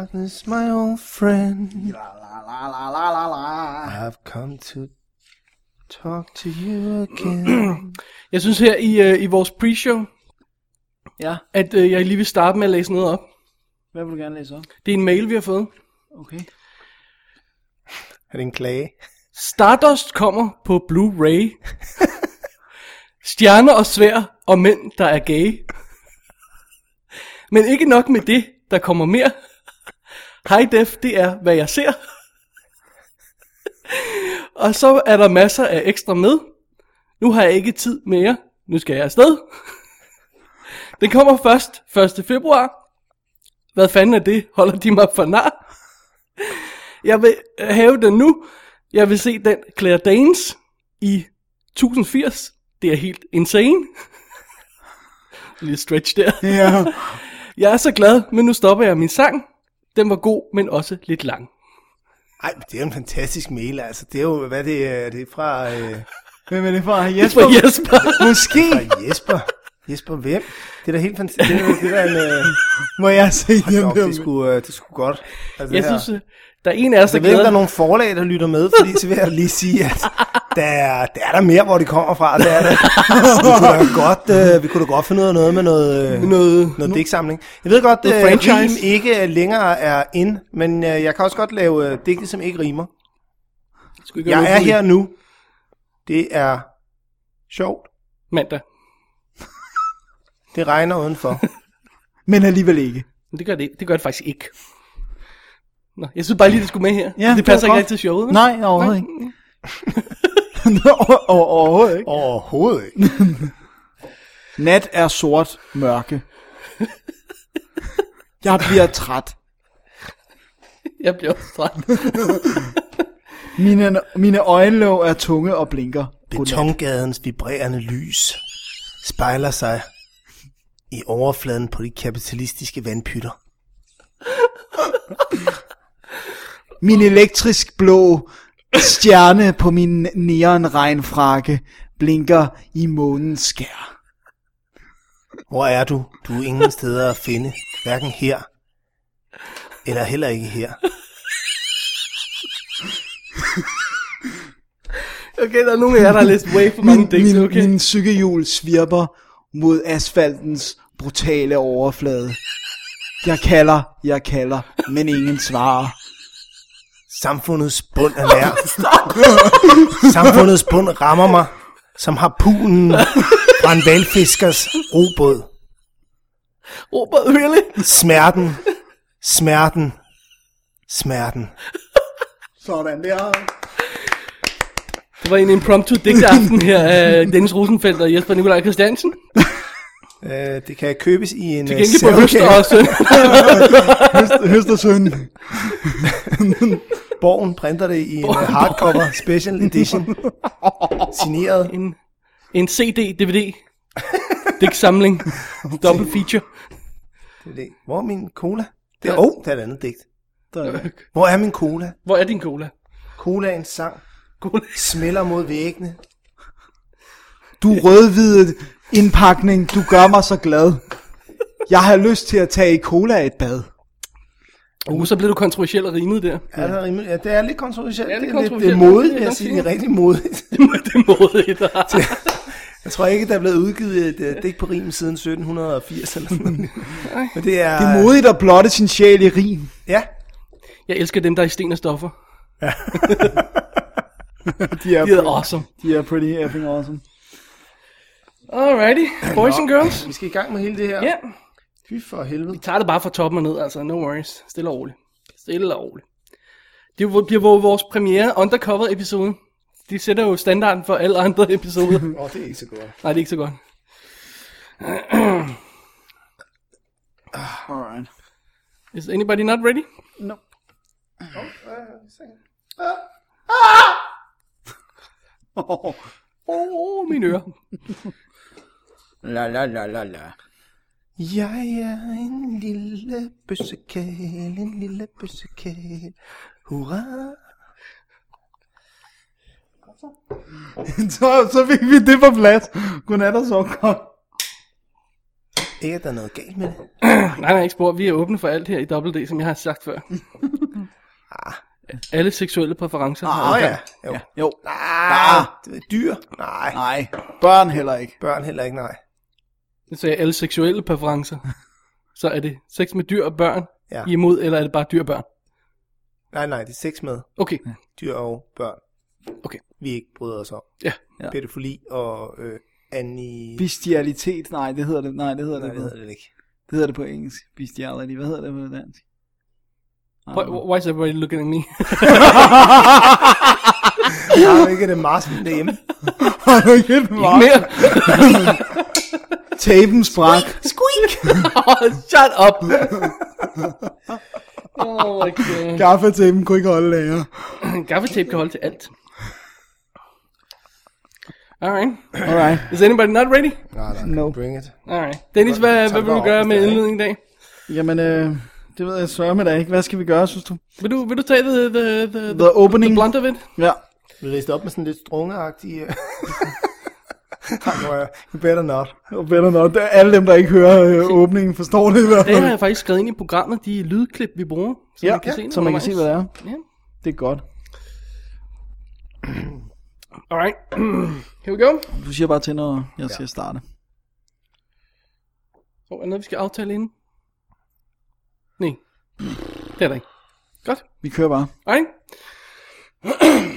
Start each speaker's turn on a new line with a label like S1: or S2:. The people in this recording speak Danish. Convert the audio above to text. S1: darkness, my old friend.
S2: La la la la la la la.
S1: I've come to talk to you again.
S3: Jeg synes her i, øh, i vores pre-show,
S2: Ja,
S3: at øh, jeg lige vil starte med at læse noget op.
S2: hvad vil du gerne læse op?
S3: Det er en mail, vi har fået.
S2: Okay.
S1: er det en klage?
S3: Stardust kommer på Blu-ray. Stjerner og svær og mænd, der er gay. Men ikke nok med det, der kommer mere. High Def, det er, hvad jeg ser. og så er der masser af ekstra med. Nu har jeg ikke tid mere. Nu skal jeg afsted. Den kommer først 1. februar. Hvad fanden er det? Holder de mig for nar? Jeg vil øh, have den nu. Jeg vil se den Claire Danes i 1080. Det er helt insane. Lille stretch der.
S2: Ja.
S3: Jeg er så glad, men nu stopper jeg min sang. Den var god, men også lidt lang.
S1: Ej, men det er jo en fantastisk mail, altså. Det er jo, hvad det er, er det er fra... Øh,
S2: Hvem er det fra?
S3: For
S2: Jesper?
S3: Jesper.
S1: måske! Fra Jesper. Jesper, hvem? Det er da helt fantastisk. Det er, det er da en... Øh,
S2: Må jeg se den
S1: Nå,
S2: der?
S1: det skulle, øh, det skulle godt. Altså,
S3: Jeg
S1: det her.
S3: synes, øh, der er en af os, der
S1: Jeg ved ikke, om der
S3: glæder.
S1: er nogle forlag, der lytter med, fordi så vil jeg lige sige, at der, er- der er der mere, hvor det kommer fra. Der er der. Vi, kunne da godt, øh, vi kunne da godt finde ud af noget med noget, øh,
S3: Noget-
S1: noget digtsamling. Jeg ved godt,
S3: Noget
S1: at
S3: franchise.
S1: rim ikke længere er in, men øh, jeg kan også godt lave øh, digte, som ikke rimer.
S3: Skulle ikke
S1: Jeg
S3: være
S1: er
S3: noget
S1: her nu. Det er sjovt.
S3: muligt. Mandag.
S1: Det regner udenfor.
S2: Men alligevel ikke.
S3: Men det gør det, ikke. det gør det faktisk ikke. Nå, jeg synes bare lige, det skulle med her.
S2: Ja,
S3: det
S2: det
S3: passer
S2: var
S3: ikke
S2: godt.
S3: rigtig til showet. vel?
S2: Nej, overhovedet ikke. Nå, o- o- overhovedet ikke.
S1: Overhovedet ikke.
S2: Nat er sort mørke. Jeg bliver træt.
S3: Jeg bliver også træt.
S2: Mine, mine øjenlåg er tunge og blinker. Godnat.
S1: Betongadens vibrerende lys spejler sig i overfladen på de kapitalistiske vandpytter.
S2: Min elektrisk blå stjerne på min neonregnfrakke blinker i månens skær.
S1: Hvor er du? Du er ingen steder at finde. Hverken her, eller heller ikke her.
S3: Okay, der er nogle af jer, der har læst way for mange digte,
S2: min,
S3: okay?
S2: min cykelhjul svirper mod asfaltens brutale overflade. Jeg kalder, jeg kalder, men ingen svarer.
S1: Samfundets bund er nær. Samfundets bund rammer mig, som har pulen fra en valfiskers robåd.
S3: Robert, really?
S1: Smerten, smerten, smerten.
S2: Sådan der.
S3: Det var en impromptu digteaften her af Dennis Rosenfeldt og Jesper Nikolaj Christiansen.
S1: Øh, det kan købes i en øh,
S3: Gengæld på høst også.
S2: Høst og søn.
S1: Borgen printer det i en øh, hardcover special edition. Signeret.
S3: En, en CD, DVD, digtsamling, dobbelt feature.
S1: DVD. Hvor er min cola? Det er, oh, der er et andet digt. Hvor er min cola?
S3: Hvor er din cola?
S1: Colaens sang
S3: Cola.
S1: smelter mod væggene.
S2: Du rødhvide indpakning, du gør mig så glad. Jeg har lyst til at tage i cola et bad.
S3: Uh, så blev du kontroversiel og rimet der.
S1: Ja, det er, rimelig, ja, det er lidt kontroversielt.
S3: Det er lidt
S1: Det er
S3: kontroversielt, det
S1: modigt, vil
S3: vil jeg
S1: jeg
S3: nok
S1: sige.
S3: sige.
S1: Det er rigtig modigt.
S3: det er modigt.
S1: Jeg tror ikke, der er blevet udgivet et uh, digt på rim siden 1780 eller sådan noget. Men det er...
S2: Det er modigt at blotte sin sjæl i rim.
S1: Ja.
S3: Jeg elsker dem, der er i sten og stoffer.
S2: De er,
S3: De er awesome.
S2: de er pretty effing awesome.
S3: Alrighty, boys and girls.
S1: Vi skal i gang med hele det her.
S3: Ja,
S1: Fy for helvede.
S3: vi tager det bare fra toppen og ned, altså. No worries. Stille og roligt. Stille og roligt. Det jo- bliver vores premiere undercover episode. De sætter jo standarden for alle andre episoder.
S1: Åh, oh, det er ikke så godt.
S3: Nej, det er ikke så godt.
S2: Alright.
S3: Is anybody not ready?
S2: No.
S3: Åh, oh, mine ører.
S2: La la la la la.
S1: Jeg er en lille bøssekæl, en lille bøssekæl. Hurra.
S2: så, så fik vi det på plads. Godnat og så godt.
S1: Ikke, at der er noget galt med det.
S3: Nej, nej, ikke spor. Vi er åbne for alt her i WD, som jeg har sagt før. Alle seksuelle præferencer.
S2: Ah,
S3: har
S1: Nå
S3: adgang.
S1: ja, jo. Ja.
S2: Jo,
S1: Ah, det er dyr. Nej.
S2: nej. Børn heller ikke.
S1: Børn heller ikke, nej.
S3: Nu sagde jeg alle seksuelle præferencer. Så er det sex med dyr og børn,
S1: Ja.
S3: ja. I er imod, eller er det bare dyr og børn?
S1: Nej, nej, det er sex med
S3: Okay,
S1: dyr og børn.
S3: Okay.
S1: Vi ikke bryder os om.
S3: ja.
S2: Ja.
S1: Pædofili og øh, ani...
S2: Bestialitet, nej, det hedder det, nej, det hedder
S1: Nej,
S2: det,
S1: det hedder
S2: det.
S1: det ikke.
S2: det hedder det på engelsk. Bestiality, hvad hedder det på dansk?
S3: Why, why is everybody looking at me?
S1: Har du ikke det marsvin derhjemme?
S2: Har du ikke et
S3: Ikke mere.
S2: Tapen sprak.
S1: Squeak!
S3: oh, shut up. oh my god.
S2: Gaffatapen kunne ikke holde længere.
S3: Gaffetape kan holde til alt. Alright.
S2: Alright.
S3: Is anybody not ready?
S1: Nej, nej,
S2: No.
S1: bring it.
S3: Alright. Dennis, hvad, hvad vil du gøre med indledningen i dag?
S2: Jamen, øh, det ved jeg sørme da ikke. Hvad skal vi gøre, synes du?
S3: Vil du, vil du tage the, the, the,
S2: The opening.
S3: the blunt of it?
S2: Ja.
S1: Vi læste op med sådan lidt strungeagtig... øh, Ej, hvor er- You better not.
S2: Og better not. Alle dem, der ikke hører øh, åbningen, forstår det i hvert
S3: Det har
S2: fald.
S3: jeg faktisk skrevet ind i programmet, de lydklip, vi bruger. Så
S2: Ja,
S3: man kan se,
S2: så man kan se, hvad det er.
S3: Ja.
S2: Det er godt.
S3: Alright. Here we go.
S2: Du siger bare til, når jeg skal starte.
S3: Oh, er der noget, vi skal aftale inden? Nej. Det er der ikke. Godt.
S2: Vi kører bare.
S3: Alright.